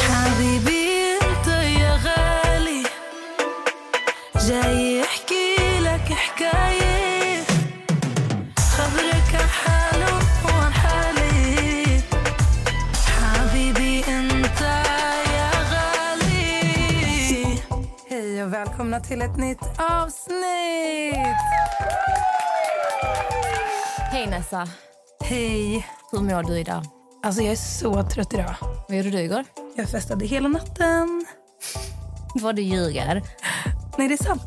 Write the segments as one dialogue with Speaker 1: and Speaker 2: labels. Speaker 1: حبيبي انت يا غالي جاي احكي لك حكاية خبرك عن حاله وعن حالي حبيبي انت يا غالي Hej och välkomna till ett nytt avsnitt!
Speaker 2: Hej Nessa,
Speaker 1: Hej!
Speaker 2: hur mår du idag?
Speaker 1: Alltså jag är så trött idag.
Speaker 2: Vad gjorde du igår?
Speaker 1: Jag festade hela natten.
Speaker 2: Vad du ljuger.
Speaker 1: Nej, det är sant.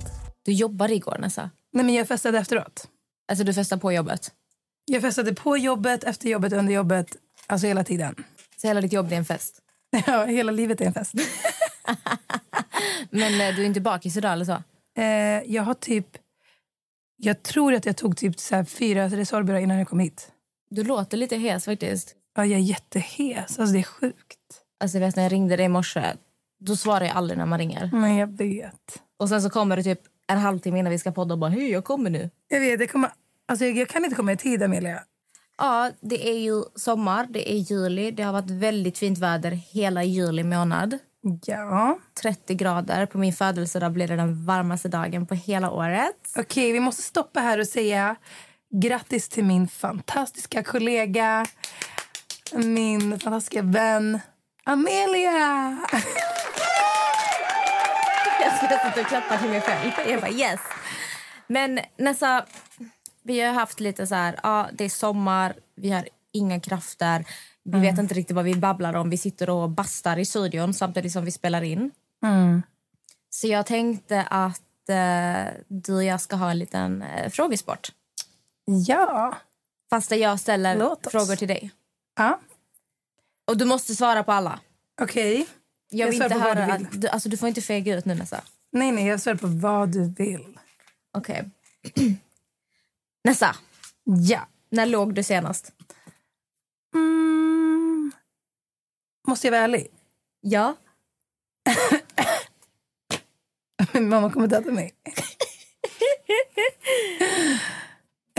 Speaker 2: Du jobbade igår Nessa.
Speaker 1: Nej, men jag festade efteråt.
Speaker 2: Alltså du festade på jobbet.
Speaker 1: Jag festade på jobbet, efter jobbet, under jobbet. Alltså hela tiden.
Speaker 2: Så hela ditt jobb det är en fest.
Speaker 1: Ja, hela livet är en fest.
Speaker 2: Men eh, du är inte bakis idag eller så?
Speaker 1: Eh, jag har typ... Jag tror att jag tog typ så här fyra Resorbera innan jag kom hit.
Speaker 2: Du låter lite hes faktiskt.
Speaker 1: Ja, jag är jättehes. Alltså det är sjukt.
Speaker 2: Alltså jag vet när jag ringde dig i morse, då svarar jag aldrig när man ringer.
Speaker 1: Men jag vet.
Speaker 2: Och sen så kommer det typ en halvtimme innan vi ska podda och bara hej jag kommer nu.
Speaker 1: Jag vet, jag kommer... Alltså jag, jag kan inte komma i tid, Amelia.
Speaker 2: Ja, det är ju sommar, det är juli, det har varit väldigt fint väder hela juli månad.
Speaker 1: Ja.
Speaker 2: 30 grader, på min födelsedag blir det den varmaste dagen på hela året.
Speaker 1: Okej, vi måste stoppa här och säga grattis till min fantastiska kollega, min fantastiska vän Amelia!
Speaker 2: Jag skulle sitta och klappa till mig själv. Jag bara yes. Men Nessa, vi har haft lite så här, ja det är sommar, vi har inga krafter. Vi vet
Speaker 1: Mm.
Speaker 2: inte riktigt vad vi babblar om. Vi sitter och bastar i studion samtidigt som vi spelar in.
Speaker 1: Mm.
Speaker 2: Så jag tänkte att eh, du och jag ska ha en liten eh, frågesport.
Speaker 1: Ja.
Speaker 2: Fast där jag
Speaker 1: Låt
Speaker 2: ställer
Speaker 1: oss.
Speaker 2: frågor till dig.
Speaker 1: ja.
Speaker 2: Och du måste svara på alla.
Speaker 1: Okej.
Speaker 2: Jag vill
Speaker 1: svarar
Speaker 2: inte
Speaker 1: på vad
Speaker 2: höra
Speaker 1: du vill.
Speaker 2: att, du, alltså, du får inte fega ut nu Nessa.
Speaker 1: Nej, nej, jag svarar på vad du vill.
Speaker 2: Okej. Nessa,
Speaker 1: Ja.
Speaker 2: när låg du senast?
Speaker 1: Mm. Måste jag vara ärlig?
Speaker 2: Ja.
Speaker 1: Min mamma kommer döda mig.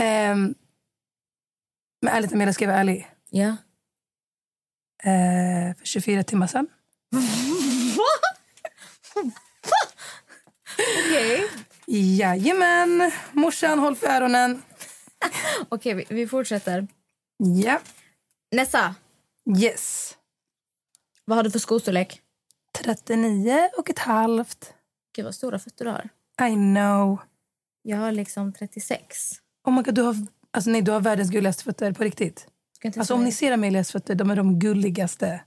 Speaker 1: um, men ärligt Amelia, ska jag vara ärlig?
Speaker 2: Ja.
Speaker 1: Eh, för 24 timmar sedan.
Speaker 2: Okej,
Speaker 1: Jajamän! Morsan, håll för öronen.
Speaker 2: Okej, vi, vi fortsätter.
Speaker 1: Ja.
Speaker 2: Nessa,
Speaker 1: Yes.
Speaker 2: vad har du för skostorlek?
Speaker 1: 39 och ett halvt.
Speaker 2: Gud, vad stora fötter du har.
Speaker 1: I know.
Speaker 2: Jag har liksom 36.
Speaker 1: Oh my God, du har, alltså nej, du har världens gulligaste fötter på riktigt.
Speaker 2: Ska inte
Speaker 1: Alltså
Speaker 2: säga-
Speaker 1: om ni ser Amelias fötter, de är de gulligaste.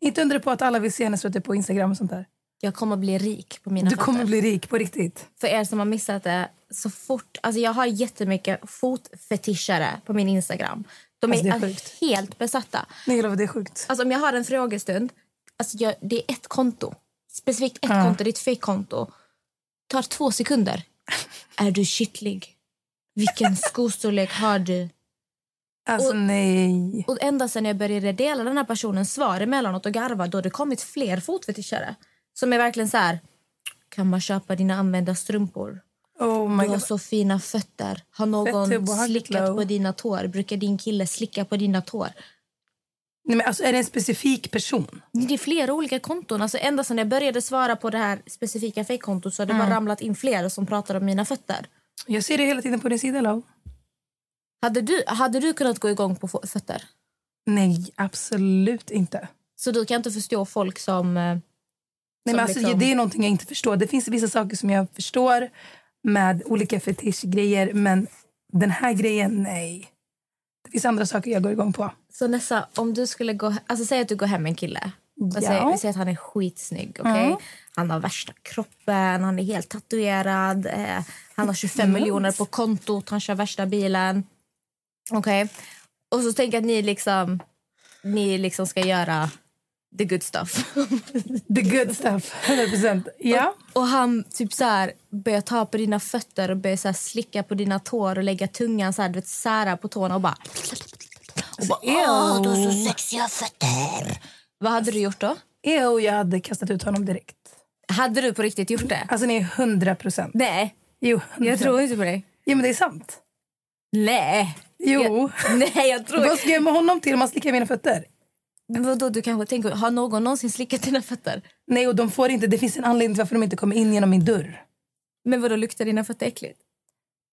Speaker 1: Inte undra på att alla vill se hennes fötter på Instagram och sånt där.
Speaker 2: Jag kommer bli rik på mina
Speaker 1: Du kommer
Speaker 2: fötter.
Speaker 1: bli rik på riktigt.
Speaker 2: För er som har missat det, så fort... Alltså jag har jättemycket fotfetischare på min Instagram. De
Speaker 1: Alltså, det
Speaker 2: är,
Speaker 1: är
Speaker 2: alltså,
Speaker 1: sjukt.
Speaker 2: helt besatta.
Speaker 1: Nej, jag lovar, det är sjukt.
Speaker 2: Alltså om jag har en frågestund, alltså jag, det är ett konto. Specifikt ett konto, det är ett fejkkonto. tar två sekunder. Är du kittlig? Vilken skostorlek har du?
Speaker 1: Alltså nej.
Speaker 2: Och ända sen jag började dela den här personens svar emellanåt och garva då har det kommit fler fotfetischare som är verkligen så här kan man köpa dina använda strumpor?
Speaker 1: Oh my
Speaker 2: Du har
Speaker 1: God.
Speaker 2: så fina fötter. Har
Speaker 1: Fett tubo,
Speaker 2: någon
Speaker 1: har glow.
Speaker 2: slickat på dina tår? Brukar din kille slicka på dina tår?
Speaker 1: Nej, men alltså, är det en specifik person?
Speaker 2: Det är flera olika konton. Alltså ända sen jag började svara på det här specifika fejkkontot så har det bara ramlat in fler som pratar om mina fötter.
Speaker 1: Jag ser det hela tiden på din sida, Lau.
Speaker 2: Hade du, hade du kunnat gå igång på fo- fötter?
Speaker 1: Nej, absolut inte.
Speaker 2: Så du kan inte förstå folk som... eh,
Speaker 1: Nej,
Speaker 2: Som
Speaker 1: men alltså,
Speaker 2: liksom-
Speaker 1: Det är någonting jag inte förstår. Det finns vissa saker som jag förstår med olika fetischgrejer, men den här grejen, nej. Det finns andra saker jag går igång på.
Speaker 2: Så Nessa, om du skulle gå... Alltså säg att du går hem med en kille.
Speaker 1: Ja.
Speaker 2: Och säg, vi säger att han är skitsnygg. okej? Han har värsta kroppen, han är helt tatuerad. Eh, han har 25
Speaker 1: Mm.
Speaker 2: miljoner på kontot, han kör värsta bilen. Okej? Och så tänker jag att ni liksom ni liksom ska göra the good stuff.
Speaker 1: The good stuff. 100%. Ja.
Speaker 2: Och han typ så här börjar ta på dina fötter och börjar så här slicka på dina tår och lägga tungan så här, du vet, sära på tårna och bara... Och bara Åh, du har så sexiga fötter! Vad hade du gjort då?
Speaker 1: Ew, jag hade kastat ut honom direkt.
Speaker 2: Hade du på riktigt gjort det?
Speaker 1: Alltså ni är 100%.
Speaker 2: Nej,
Speaker 1: Jo,
Speaker 2: jag tror inte på dig.
Speaker 1: Ja, men det är sant.
Speaker 2: Nej!
Speaker 1: Jo.
Speaker 2: Jag, nej, jag tror
Speaker 1: Vad ska jag med honom till om han slickar mina fötter?
Speaker 2: Vadå, du kanske tänker, har någon någonsin slickat dina fötter?
Speaker 1: Nej, och de får inte. Det finns en anledning till varför de inte kommer in genom min dörr.
Speaker 2: Men vadå, luktar dina fötter äckligt?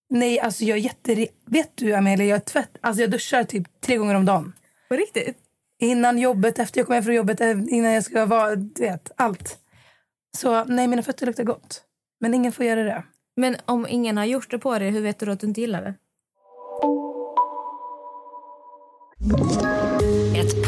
Speaker 1: Nej, alltså jag är jätte... Vet du, Amelia, jag är tvätt... Alltså jag duschar typ tre gånger om dagen.
Speaker 2: På riktigt?
Speaker 1: Innan jobbet, efter jag kommer hem från jobbet, eh, innan jag ska vara... Du vet, allt. Så nej, mina fötter luktar gott. Men ingen får göra det.
Speaker 2: Men om ingen har gjort det på dig, hur vet du då att du inte gillar det?
Speaker 3: Ett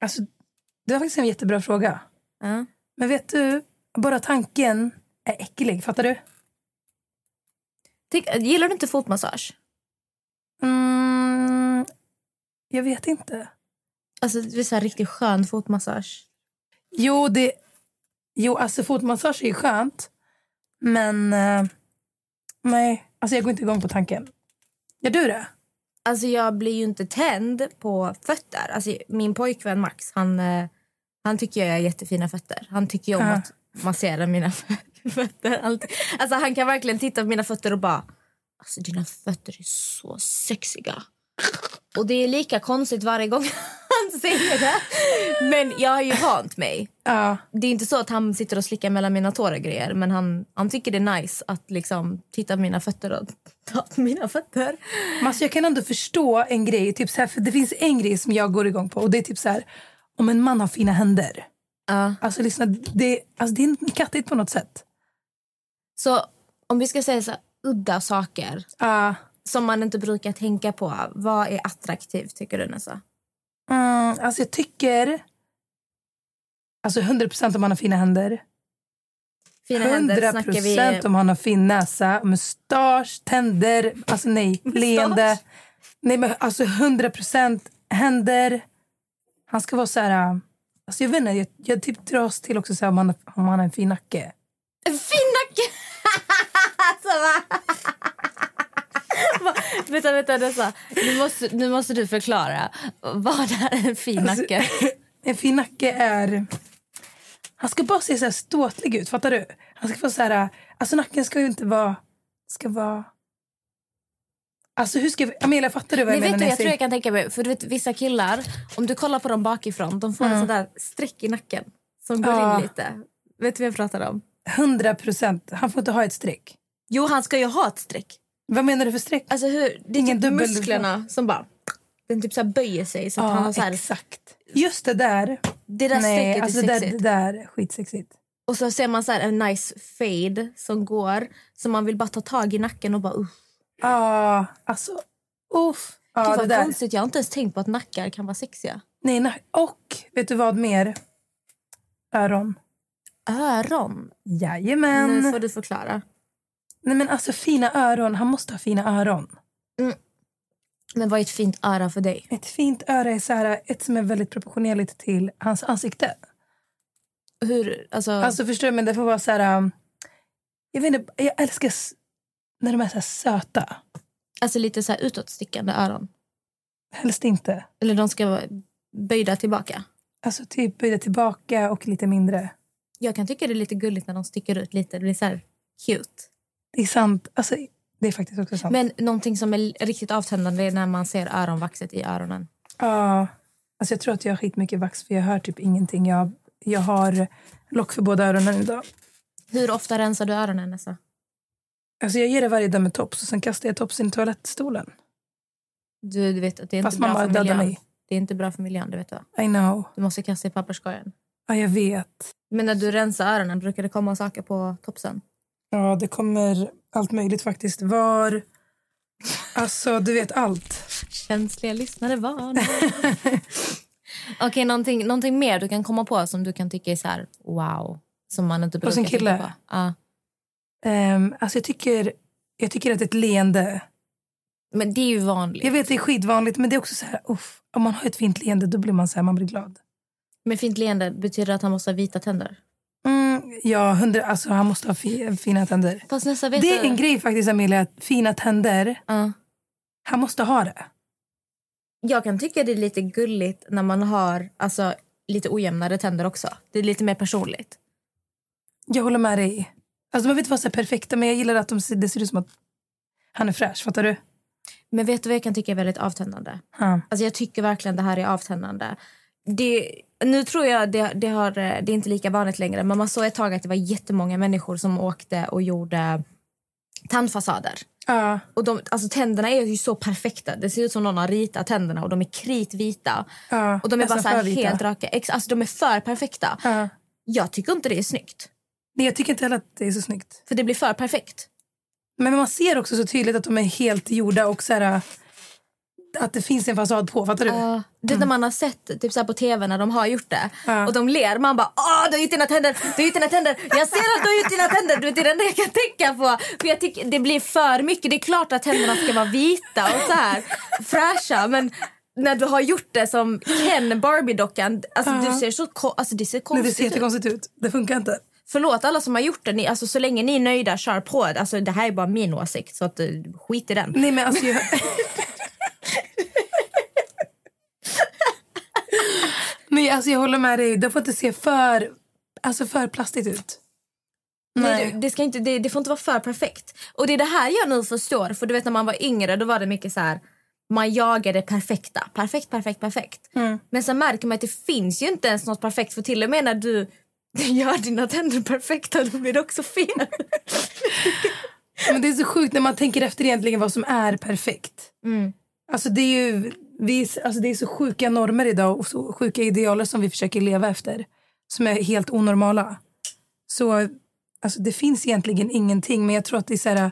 Speaker 1: Alltså, det var faktiskt en jättebra fråga.
Speaker 2: Ja.
Speaker 1: Men vet du, bara tanken är äcklig. Fattar du?
Speaker 2: Tänk, gillar du inte fotmassage?
Speaker 1: Mm, jag vet inte.
Speaker 2: Alltså, det är så här riktigt skön fotmassage.
Speaker 1: Jo, det... Jo, alltså fotmassage är ju skönt. Men... eh, nej, alltså jag går inte igång på tanken. Gör du det?
Speaker 2: Alltså, jag blir ju inte tänd på fötter. Alltså, min pojkvän Max, han, eh, han tycker jag har jättefina fötter. Han tycker ju om
Speaker 1: Ja.
Speaker 2: att massera mina fötter. alltid. Alltså, han kan verkligen titta på mina fötter och bara... Alltså, dina fötter är så sexiga. Och det är lika konstigt varje gång han säger det. Men jag har ju vant mig.
Speaker 1: Ja.
Speaker 2: det är inte så att han sitter och slickar mellan mina tår och grejer men han, han tycker det är nice att liksom titta på mina fötter och ta på mina fötter.
Speaker 1: Men Alltså jag kan ändå förstå en grej. Typ så här, för det finns en grej som jag går igång på. Och det är typ så här, om en man har fina händer.
Speaker 2: Ja.
Speaker 1: Alltså lyssna, det, alltså det är kattigt på något sätt.
Speaker 2: Så om vi ska säga så här, udda saker
Speaker 1: Ja.
Speaker 2: som man inte brukar tänka på, vad är attraktivt tycker du Nessa?
Speaker 1: Mm, alltså jag tycker... Alltså 100% om man har fina händer.
Speaker 2: Fina händer snackar
Speaker 1: 100%
Speaker 2: vi.
Speaker 1: om han har fin näsa, mustasch, tänder, alltså nej, leende. Nej men alltså 100% händer. Han ska vara så här, äh, alltså jag vet inte, jag, jag typ dras till också så här om han, har- om han har en fin nacke.
Speaker 2: Fin nacke! alltså, va? Va? vänta, vänta Nessa. Nu måste, nu måste du förklara. Vad är en fin
Speaker 1: Alltså,
Speaker 2: nacke?
Speaker 1: En fin nacke är, han ska bara se så här ståtlig ut, fattar du? Han ska vara så här, äh, alltså nacken ska ju inte vara, ska vara, alltså hur ska vi, Amelia fattar du vad jag
Speaker 2: Nej,
Speaker 1: menar?
Speaker 2: vet du,
Speaker 1: när
Speaker 2: jag tror
Speaker 1: säger-
Speaker 2: jag kan tänka mig. För du vet, vissa killar, om du kollar på dem bakifrån, de får en sån där streck i nacken som går
Speaker 1: Mm. Ja.
Speaker 2: in lite. Vet du vad jag pratar om?
Speaker 1: 100%, han får inte ha ett streck.
Speaker 2: Jo, han ska ju ha ett streck.
Speaker 1: Vad menar du för streck?
Speaker 2: Alltså hur, det är
Speaker 1: Ingen
Speaker 2: typ
Speaker 1: dubbel-
Speaker 2: musklerna som bara... Den typ så här böjer sig. Så att han har
Speaker 1: Ja,
Speaker 2: så här,
Speaker 1: exakt. Just det där.
Speaker 2: det där
Speaker 1: Nej,
Speaker 2: strecket
Speaker 1: alltså
Speaker 2: är typ
Speaker 1: det där,
Speaker 2: sexigt.
Speaker 1: det där är skitsexigt.
Speaker 2: Och så ser man så här en nice fade som går. Så man vill bara ta tag i nacken och bara... Uh,
Speaker 1: Ja, alltså uff. Ja,
Speaker 2: gud
Speaker 1: det
Speaker 2: vad
Speaker 1: där.
Speaker 2: konstigt, jag har inte ens tänkt på att nackar kan vara sexiga.
Speaker 1: Nej, nej. Och vet du vad mer? Öron.
Speaker 2: Öron?
Speaker 1: Jajamän.
Speaker 2: Nu får du förklara.
Speaker 1: Nej men alltså fina öron. Han måste ha fina öron.
Speaker 2: Men vad är ett fint öra för dig?
Speaker 1: Ett fint öra är så här, ett som är väldigt proportionerligt till hans ansikte.
Speaker 2: Hur, alltså,
Speaker 1: Alltså förstår du? Men det får vara så här... um, Jag vet inte, jag älskar s- när de är så här söta.
Speaker 2: Alltså lite så här utåtstickande öron.
Speaker 1: Helst inte.
Speaker 2: Eller de ska vara böjda tillbaka.
Speaker 1: Alltså typ böjda tillbaka och lite mindre.
Speaker 2: Jag kan tycka det är lite gulligt när de sticker ut lite. Det blir så här cute.
Speaker 1: Det är sant. Alltså, det är faktiskt också sant.
Speaker 2: Men någonting som är riktigt avtändande är när man ser öronvaxet i öronen.
Speaker 1: Ja. Alltså jag tror att jag har skitmycket vax för jag hör typ ingenting. Jag, jag har lock för båda öronen idag.
Speaker 2: Hur ofta rensar du öronen Nessa?
Speaker 1: Alltså jag ger det varje dag med tops och sen kastar jag topsen i toalettstolen.
Speaker 2: Du, du vet att det är
Speaker 1: Fast
Speaker 2: inte bra
Speaker 1: mamma
Speaker 2: för
Speaker 1: dödar
Speaker 2: miljön.
Speaker 1: mig.
Speaker 2: Det är inte bra för miljön, det vet du.
Speaker 1: I know.
Speaker 2: Du måste kasta i papperskorgen.
Speaker 1: Ja, jag vet.
Speaker 2: Men när du rensar öronen brukar det komma saker på topsen.
Speaker 1: Ja, det kommer allt möjligt faktiskt. Var... Alltså, du vet allt.
Speaker 2: Känsliga lyssnare varna. Okej, någonting, någonting mer du kan komma på som du kan tycka är så här wow. Som man inte brukar
Speaker 1: sin
Speaker 2: tänka
Speaker 1: kille?
Speaker 2: på. Ja.
Speaker 1: Um, alltså jag, tycker, jag tycker att ett leende...
Speaker 2: Men det är ju vanligt.
Speaker 1: Jag vet, det är skitvanligt, men det är också så här... Uff, om man har ett fint leende då blir man så här, man blir glad.
Speaker 2: Men fint leende betyder att han måste ha vita tänder.
Speaker 1: Mm, ja, hundra, alltså han måste ha fi, fina tänder.
Speaker 2: Fast nästa vet
Speaker 1: Det
Speaker 2: du-
Speaker 1: är en grej faktiskt, Amelia. att Fina tänder.
Speaker 2: Ja.
Speaker 1: Han måste ha det.
Speaker 2: Jag kan tycka det är lite gulligt när man har alltså, lite ojämnare tänder också. Det är lite mer personligt.
Speaker 1: Jag håller med dig. Alltså, man vet vad som är perfekta, men jag gillar att de, ser- det ser ut som att han är fräsch. Fattar du?
Speaker 2: Men vet du vad jag kan tycka är väldigt avtändande?
Speaker 1: Ja.
Speaker 2: Alltså jag tycker verkligen det här är avtändande. Det, nu tror jag det, det, har, det är inte lika vanligt längre men man såg ett tag att det var jättemånga människor som åkte och gjorde tandfasader.
Speaker 1: Ja.
Speaker 2: Och de, alltså tänderna är ju så perfekta. Det ser ut som någon har ritat tänderna och de är kritvita.
Speaker 1: Ja,
Speaker 2: Och de är bara
Speaker 1: nästan
Speaker 2: så här
Speaker 1: för vita.
Speaker 2: helt raka. Ex, alltså de är för perfekta.
Speaker 1: Ja.
Speaker 2: Jag tycker inte det är snyggt.
Speaker 1: Nej, jag tycker inte heller att det är så snyggt.
Speaker 2: För det blir för perfekt.
Speaker 1: Men man ser också så tydligt att de är helt gjorda och så här, att det finns en fasad på. Fattar du?
Speaker 2: Ja. Du vet när man har sett typ så här på tv när de har gjort det
Speaker 1: Ja.
Speaker 2: och de ler. Man bara “Åh, du har gjort dina tänder! Du har gjort dina tänder! Jag ser att du har gjort dina tänder!” du vet, Det är det enda jag kan tänka på. För jag tycker Det blir för mycket. Det är klart att tänderna ska vara vita och så här fräscha men när du har gjort det som Ken Barbie-dockan, alltså, du ser så ko- alltså, det ser
Speaker 1: Nej,
Speaker 2: konstigt
Speaker 1: det ser
Speaker 2: ut.
Speaker 1: jättekonstigt ut. Det funkar inte.
Speaker 2: Förlåt alla som har gjort det. Ni, alltså, så länge ni är nöjda, kör på. Alltså, det här är bara min åsikt, så att, eh, skit i den.
Speaker 1: Nej, men alltså... Jag... Nej, alltså jag håller med dig. Det får inte se för, alltså för plastigt ut.
Speaker 2: Nej. du, det, ska inte, det, det får inte vara för perfekt. Och Det är det här jag nu förstår. För du vet När man var yngre då var det mycket så här... Man jagar det perfekta. Perfekt, perfekt, perfekt. Men sen märker man att det finns ju inte ens något perfekt. För till och med när du gör dina tänder perfekta då blir det också fel.
Speaker 1: Men det är så sjukt när man tänker efter egentligen vad som är perfekt. Alltså det är ju vi, alltså det är så sjuka normer idag och så sjuka idealer som vi försöker leva efter. Som är helt onormala. Så alltså det finns egentligen ingenting men jag tror att det är så här,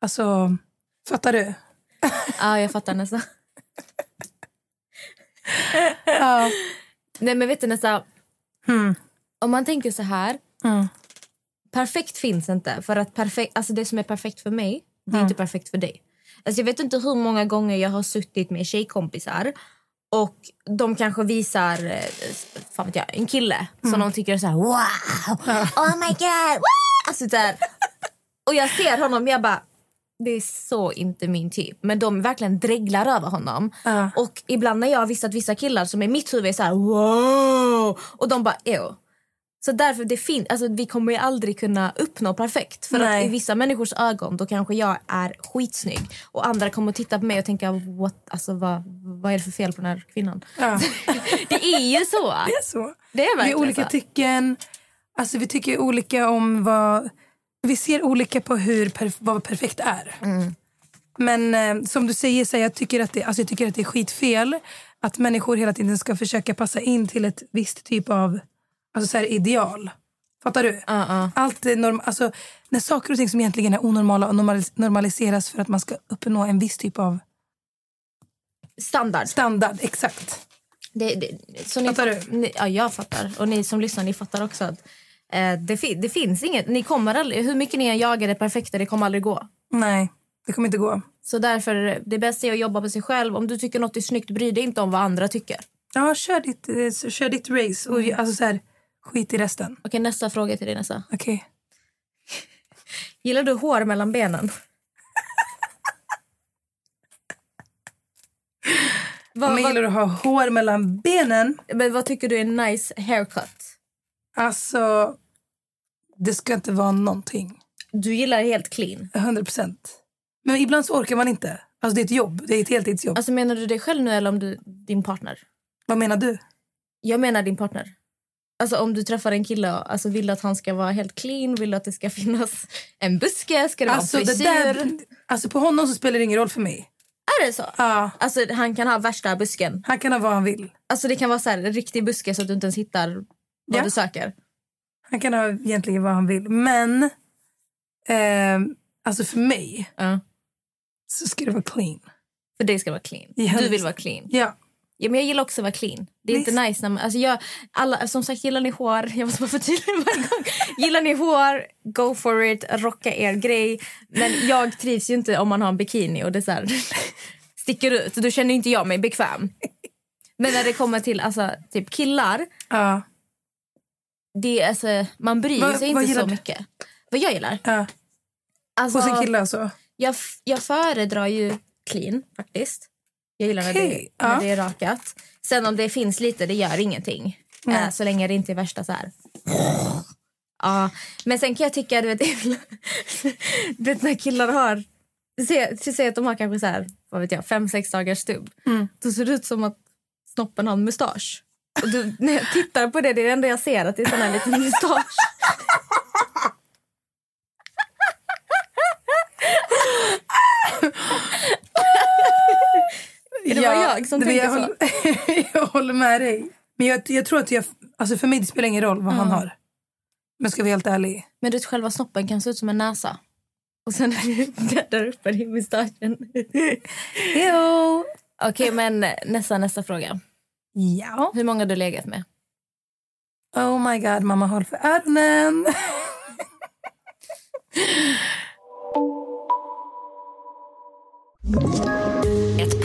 Speaker 1: alltså fattar du?
Speaker 2: Ja, jag fattar nästan. Nej, men vet du nästan. Mm. Om man tänker så här. Perfekt finns inte. För att perfekt, alltså det som är perfekt för mig, det är inte perfekt för dig. Alltså jag vet inte hur många gånger jag har suttit med tjejkompisar och de kanske visar eh, fan vet jag, en kille som de tycker är så här wow, oh my god, wow! Alltså där. Och jag ser honom jag bara det är så inte min typ. Men de verkligen dreglar över honom. Och ibland när jag har visat vissa killar som i mitt huvud är så här wow! Och de bara ew. Så därför det fin- alltså, vi kommer ju aldrig kunna uppnå perfekt. För att
Speaker 1: Nej.
Speaker 2: i vissa människors ögon då kanske jag är skitsnygg. Och andra kommer att titta på mig och tänka What? Alltså, vad, vad är det för fel på den här kvinnan?
Speaker 1: Ja.
Speaker 2: det är ju så.
Speaker 1: Det är så.
Speaker 2: Det är
Speaker 1: Vi är
Speaker 2: verkligen
Speaker 1: olika
Speaker 2: så.
Speaker 1: tycken. Alltså vi tycker olika om vad... Vi ser olika på hur perf- vad perfekt är. Men eh, som du säger, så här, jag, tycker att det, alltså, jag tycker att det är skitfel att människor hela tiden ska försöka passa in till ett visst typ av alltså, så här, ideal. Fattar du? Allt är norm- alltså, när saker och ting som egentligen är onormala och normal- normaliseras för att man ska uppnå en viss typ av
Speaker 2: Standard.
Speaker 1: standard. Exakt.
Speaker 2: Det, det, så ni
Speaker 1: Fattar du?
Speaker 2: fatt- Ni, ja, jag fattar. Och ni som lyssnar, ni fattar också att eh, det, fi, det finns inget. Ni kommer aldrig, hur mycket ni än jagar det perfekta, det kommer aldrig gå.
Speaker 1: Nej, det kommer inte gå.
Speaker 2: Så därför, det bästa är att jobba på sig själv. Om du tycker något är snyggt, bry dig inte om vad andra tycker. Okej,
Speaker 1: Ja, kör ditt, eh, så- kör ditt race och
Speaker 2: Mm.
Speaker 1: ju- alltså så här, skit i resten.
Speaker 2: nästa fråga till dig nästa.
Speaker 1: Okej.
Speaker 2: Gillar du hår mellan benen? vad,
Speaker 1: Men gillar
Speaker 2: vad,
Speaker 1: du att ha hår mellan benen?
Speaker 2: men vad tycker du är en nice haircut?
Speaker 1: Alltså, det ska inte vara någonting.
Speaker 2: Du gillar helt clean.
Speaker 1: 100 procent. Men ibland så orkar man inte. Alltså det är ett jobb. Det är ett heltidsjobb.
Speaker 2: Alltså menar du dig själv nu eller om du, din partner?
Speaker 1: Vad menar du?
Speaker 2: Jag menar din partner. Alltså om du träffar en kille alltså vill du att han ska vara helt clean, vill du att det ska finnas en buske, ska det
Speaker 1: Alltså,
Speaker 2: vara
Speaker 1: det
Speaker 2: frisyr?
Speaker 1: där, alltså på honom så spelar det ingen roll för mig.
Speaker 2: Är Är det så?
Speaker 1: Ja.
Speaker 2: Alltså, han kan ha värsta busken.
Speaker 1: Han kan ha vad han vill.
Speaker 2: Alltså, det kan vara så här, en riktig buske så att du inte ens hittar vad
Speaker 1: Ja.
Speaker 2: du söker.
Speaker 1: Han kan ha egentligen vad han vill. Men ehm, alltså för mig
Speaker 2: Ja.
Speaker 1: så ska det vara clean.
Speaker 2: För det ska vara clean.
Speaker 1: Ja,
Speaker 2: Du vill
Speaker 1: visst.
Speaker 2: vara clean.
Speaker 1: Ja.
Speaker 2: Ja, men jag gillar också att vara clean. Det är inte
Speaker 1: Visst.
Speaker 2: nice när man, alltså jag, alla, som sagt, gillar ni hår, jag måste bara förtydliga varje gång. Gillar ni hår, go for it, rocka er grej. Men jag trivs ju inte om man har en bikini och det så här, sticker ut. Då känner inte jag mig bekväm. Men när det kommer till alltså, typ killar,
Speaker 1: Ja.
Speaker 2: det är, alltså, man bryr
Speaker 1: Vad-
Speaker 2: sig
Speaker 1: vad
Speaker 2: inte
Speaker 1: gillar
Speaker 2: så
Speaker 1: du?
Speaker 2: mycket. Vad jag gillar?
Speaker 1: ja.
Speaker 2: Alltså,
Speaker 1: Hos en kille alltså?
Speaker 2: jag, f- jag föredrar ju clean faktiskt. Jag gillar när, det,
Speaker 1: Okej,
Speaker 2: när
Speaker 1: ja.
Speaker 2: det är rakat. Sen om det finns lite, det gör ingenting.
Speaker 1: Nej.
Speaker 2: Eh, så länge det inte är värsta så här. Ja, men sen kan jag tycka, du vet, du vet när killar har... Säg säg att de har kanske så här, vad vet jag, fem, sex dagars stubb.
Speaker 1: Mm.
Speaker 2: Då ser det ut som att snoppen har en mustasch. Och du, när jag tittar på det, det är det enda jag ser, att det är sån här liten mustasch. Är det bara jag som
Speaker 1: det-
Speaker 2: tänker
Speaker 1: jag
Speaker 2: så?
Speaker 1: håller- jag håller med dig. Men jag, jag tror att jag... Alltså för mig det spelar ingen roll vad han har. Men ska vi vara helt ärlig.
Speaker 2: Men du vet, själva snoppen kan se ut som en näsa. Och sen där uppe i mustaschen. Jo! Okej, men nästa, nästa fråga.
Speaker 1: Ja.
Speaker 2: Hur många har du legat med?
Speaker 1: Oh my god, mamma håll för öronen.
Speaker 3: Ett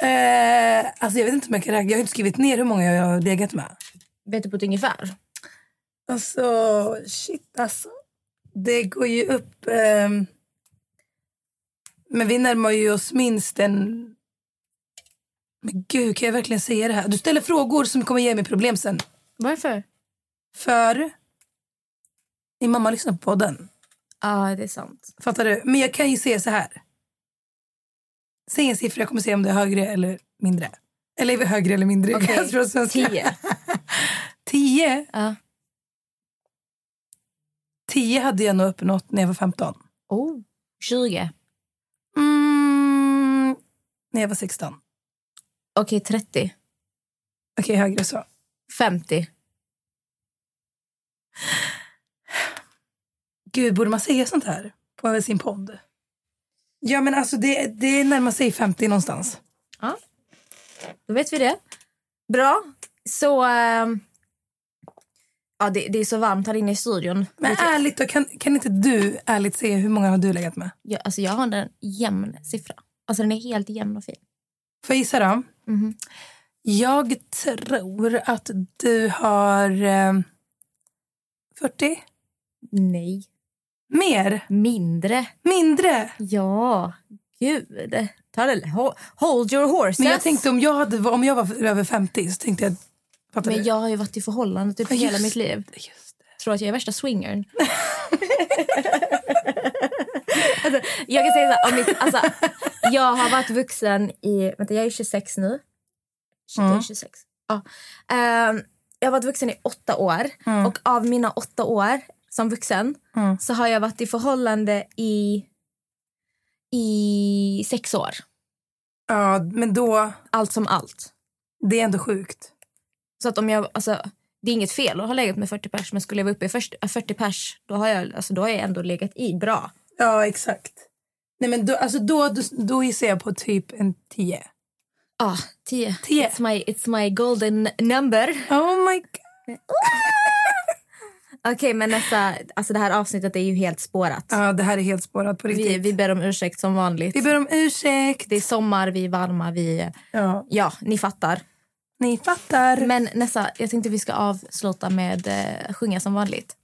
Speaker 1: Eh, alltså jag vet inte hur mycket jag Jag har inte skrivit ner hur många jag har legat med.
Speaker 2: Vet du på ett ungefär?
Speaker 1: Alltså, shit alltså. Det går ju upp. ehm, men vi närmar ju oss minst en... Men gud, kan jag verkligen säga det här? Du ställer frågor som kommer ge mig problem sen.
Speaker 2: Varför?
Speaker 1: För din mamma lyssnar på podden.
Speaker 2: Ja, det är sant.
Speaker 1: Fattar du? Men jag kan ju säga så här. Säg en siffra, jag kommer se om det är högre eller mindre. Eller är vi högre eller mindre?
Speaker 2: Okej,
Speaker 1: Jag tror att svenska-
Speaker 2: tio.
Speaker 1: Tio?
Speaker 2: Ja.
Speaker 1: Tio hade jag nog uppnått när jag var 15.
Speaker 2: Oh, 20.
Speaker 1: Mm, när jag var 16.
Speaker 2: Okej, 30.
Speaker 1: Okej, högre så.
Speaker 2: 50.
Speaker 1: Gud, borde man säga sånt här på sin podd? Ja, men alltså det, det närmar sig 50 någonstans.
Speaker 2: Då vet vi det. Bra. Så... ehm, ja, det, det är så varmt här inne i studion.
Speaker 1: Men ärligt då, kan, kan inte du ärligt säga hur många har du legat med?
Speaker 2: Jag, alltså, jag har en jämn siffra. Alltså, den är helt jämn och fin.
Speaker 1: Får jag gissa då?
Speaker 2: Mhm.
Speaker 1: Jag tror att du har eh, 40?
Speaker 2: Nej.
Speaker 1: Mer?
Speaker 2: Mindre.
Speaker 1: Mindre?
Speaker 2: Ja, gud. Ta det, ho- hold your horses.
Speaker 1: Men jag tänkte om jag, hade, om jag var över 50 så tänkte jag... Fattar
Speaker 2: Men
Speaker 1: du?
Speaker 2: jag har ju varit i förhållande typ
Speaker 1: Ja,
Speaker 2: hela
Speaker 1: just
Speaker 2: mitt liv.
Speaker 1: Just det.
Speaker 2: Tror att jag är värsta swingern. alltså, jag kan säga så här, om mitt, alltså, jag har varit vuxen i... Vänta, jag är 26 nu. Shit, jag är 26. Ja. Ehm, jag har varit vuxen i åtta år. Och av mina åtta år som vuxen så har jag varit i förhållande i, i sex år.
Speaker 1: Ja, men då...
Speaker 2: Allt som allt.
Speaker 1: Det är ändå sjukt.
Speaker 2: Så att om jag, alltså, det är inget fel att ha legat med 40 pers, men skulle jag vara uppe i först- äh, 40 pers, då har jag, alltså, då har jag ändå legat i bra.
Speaker 1: Ja, exakt. Nej, men då, alltså då, då, då gissar jag på typ en 10.
Speaker 2: Ja, ah, 10.
Speaker 1: 10.
Speaker 2: It's my, it's my golden number.
Speaker 1: Oh my god.
Speaker 2: Okej, men nästa, alltså det här avsnittet är ju helt spårat.
Speaker 1: Ja, det här är helt spårat på riktigt.
Speaker 2: Vi, vi ber om ursäkt som vanligt.
Speaker 1: Vi ber om ursäkt.
Speaker 2: Det är sommar, vi är varma, vi...
Speaker 1: Ja,
Speaker 2: Ja, ni fattar.
Speaker 1: ni fattar.
Speaker 2: Men nästa, jag tänkte vi ska avsluta med eh, sjunga som vanligt.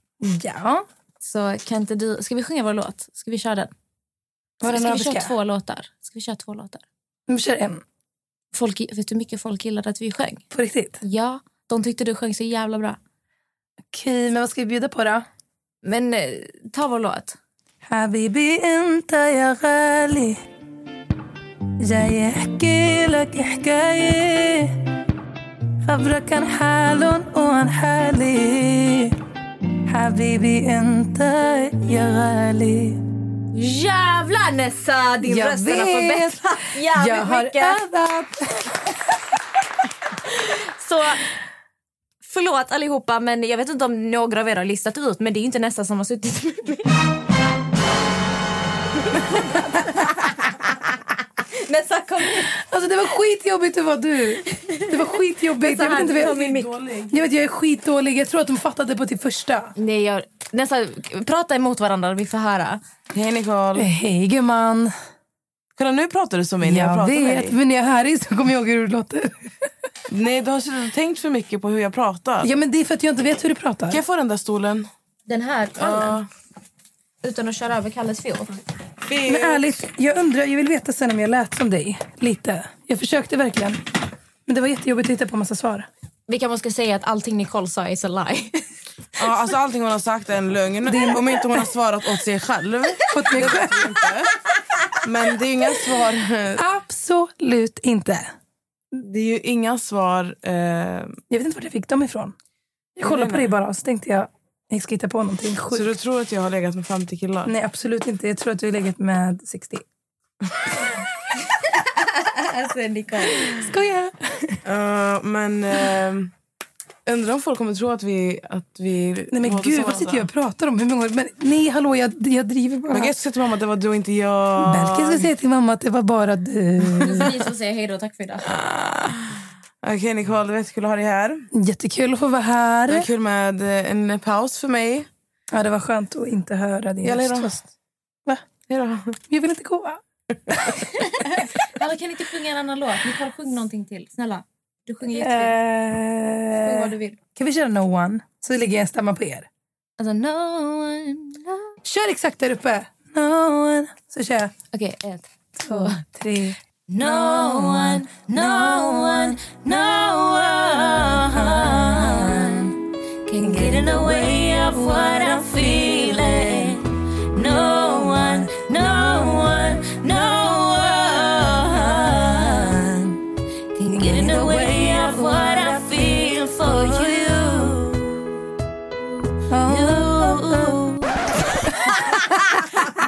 Speaker 1: ja.
Speaker 2: Så kan inte du, ska vi sjunga vår låt? Ska vi köra den?
Speaker 1: Var det
Speaker 2: ska
Speaker 1: några
Speaker 2: vi köra
Speaker 1: buskar?
Speaker 2: två låtar? Ska vi köra två låtar?
Speaker 1: Vi kör en.
Speaker 2: Folk, vet du hur mycket folk gillade att vi sjöng?
Speaker 1: På riktigt?
Speaker 2: Ja, de tyckte du sjöng så jävla bra.
Speaker 1: Okej, men vad ska vi bjuda på då?
Speaker 2: Men eh, ta vår låt.
Speaker 1: حبيبي انت يا غالي جاي احكي لك حكاية خبرك عن حالهم وعن حالي حبيبي انت يا غالي
Speaker 2: Jävlar Nessa, din
Speaker 1: Jag
Speaker 2: röst den har
Speaker 1: vet.
Speaker 2: förbättrats jävligt
Speaker 1: Jag har
Speaker 2: mycket.
Speaker 1: övat.
Speaker 2: Så förlåt allihopa men jag vet inte om några av er har listat ut men det är ju inte Nessa som har suttit med mig. Nessa kom hit.
Speaker 1: Alltså det var skitjobbigt att vara du. Det var skitjobbigt.
Speaker 2: Men så
Speaker 1: Jag vet
Speaker 2: här,
Speaker 1: inte
Speaker 2: du
Speaker 1: vad
Speaker 2: tar min mick.
Speaker 1: jag... Jag vet, jag är skitdålig. Jag tror att de fattade på typ första.
Speaker 2: Nej, jag, Nessa, prata emot varandra, vi får höra.
Speaker 4: Hej Nicole.
Speaker 1: Hej gumman.
Speaker 4: Kolla nu pratar du som mig när jag,
Speaker 1: Jag
Speaker 4: pratar med
Speaker 1: vet,
Speaker 4: dig.
Speaker 1: men när jag är här i så kommer jag ihåg hur du låter.
Speaker 4: Nej du har suttit och tänkt för mycket på hur jag pratar.
Speaker 1: Ja men det är för att jag inte vet hur du pratar.
Speaker 4: Kan jag få den där stolen?
Speaker 2: Den här
Speaker 4: Ja.
Speaker 2: utan att köra över Kalles fjol.
Speaker 1: Men ärligt, jag undrar, jag vill veta sen om jag lät som dig. Lite. Jag försökte verkligen. Men det var jättejobbigt att hitta på massa svar.
Speaker 2: Vi kanske ska säga att allting Nicole sa is a lie.
Speaker 4: Ja, alltså allting hon har sagt är en lögn. Om inte hon har svarat åt sig själv.
Speaker 1: Åt mig själv?
Speaker 4: vet vi inte. Men det är ju inga svar. Eh.
Speaker 1: Absolut inte.
Speaker 4: Det är ju inga svar. Eh,
Speaker 1: Jag vet inte vart jag fick dem ifrån. Jag kollade på dig bara och så tänkte jag, jag ska hitta på någonting
Speaker 4: så
Speaker 1: sjukt.
Speaker 4: du tror att jag har legat med 50 killar?
Speaker 1: Nej absolut inte, jag tror att du har legat med 60.
Speaker 2: alltså Nicole.
Speaker 1: Skoja!
Speaker 4: Eh, men eh, undrar om folk kommer tro att vi... Att vi
Speaker 1: Nej men
Speaker 4: hatar
Speaker 1: gud, vad
Speaker 4: varandra.
Speaker 1: sitter jag och pratar om? Hur många... men, nej hallå, jag, jag driver bara.
Speaker 4: Men jag ska säga till mamma att det var du och inte jag.
Speaker 1: Belkin ska säga till mamma att det var bara du.
Speaker 2: Vi får säga hej då, tack för idag.
Speaker 4: Okej Nicole, det var jättekul att ha dig här.
Speaker 1: Jättekul att få vara
Speaker 4: Det var
Speaker 1: här.
Speaker 4: kul med eh, en paus för mig.
Speaker 1: Ja, det var skönt att inte höra din
Speaker 4: Eller
Speaker 1: röst.
Speaker 4: då?
Speaker 1: Va?
Speaker 4: Hejdå.
Speaker 1: Jag vill inte gå.
Speaker 2: Alla kan inte sjunga en annan låt. Nicole, sjung någonting till. Snälla. Du sjunger jättefint. Sjung vad
Speaker 1: Eh,
Speaker 2: du vill.
Speaker 1: kan vi köra No One? Så lägger jag en stämma på er.
Speaker 2: Alltså, no one loves-
Speaker 1: Kör exakt där uppe. No one. Så kör jag.
Speaker 2: Okej, ett.
Speaker 1: Två, tre.
Speaker 2: No one, no one, no one can get in the way of what I'm feeling. No one, no one, no one can get in the way of what I feel for you. You.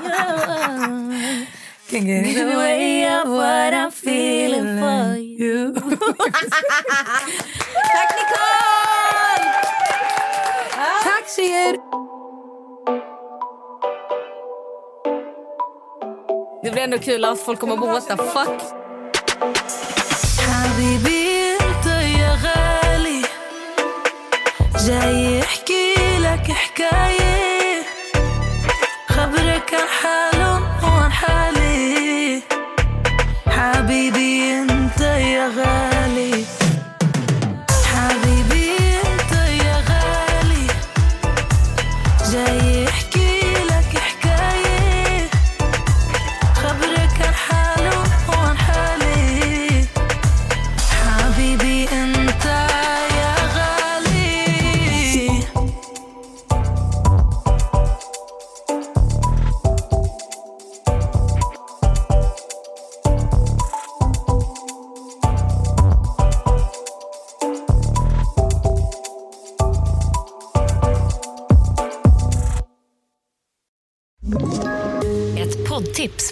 Speaker 1: Can get in
Speaker 2: the way of what I'm feeling for
Speaker 1: you.
Speaker 2: Tack Nicole!
Speaker 1: Tack tjejer!
Speaker 2: Det blir ändå kul att folk kommer bo what the fuck.
Speaker 1: حبيبي انت يا غالي جاي احكي لك حكاية خبرك عن حالهم وعن حالي حبيبي انت يا غالي حبيبي انت يا غالي جاي احكي لك حكاية خبرك عن حالهم وعن حالي حبيبي انت يا غالي
Speaker 3: Ett poddtips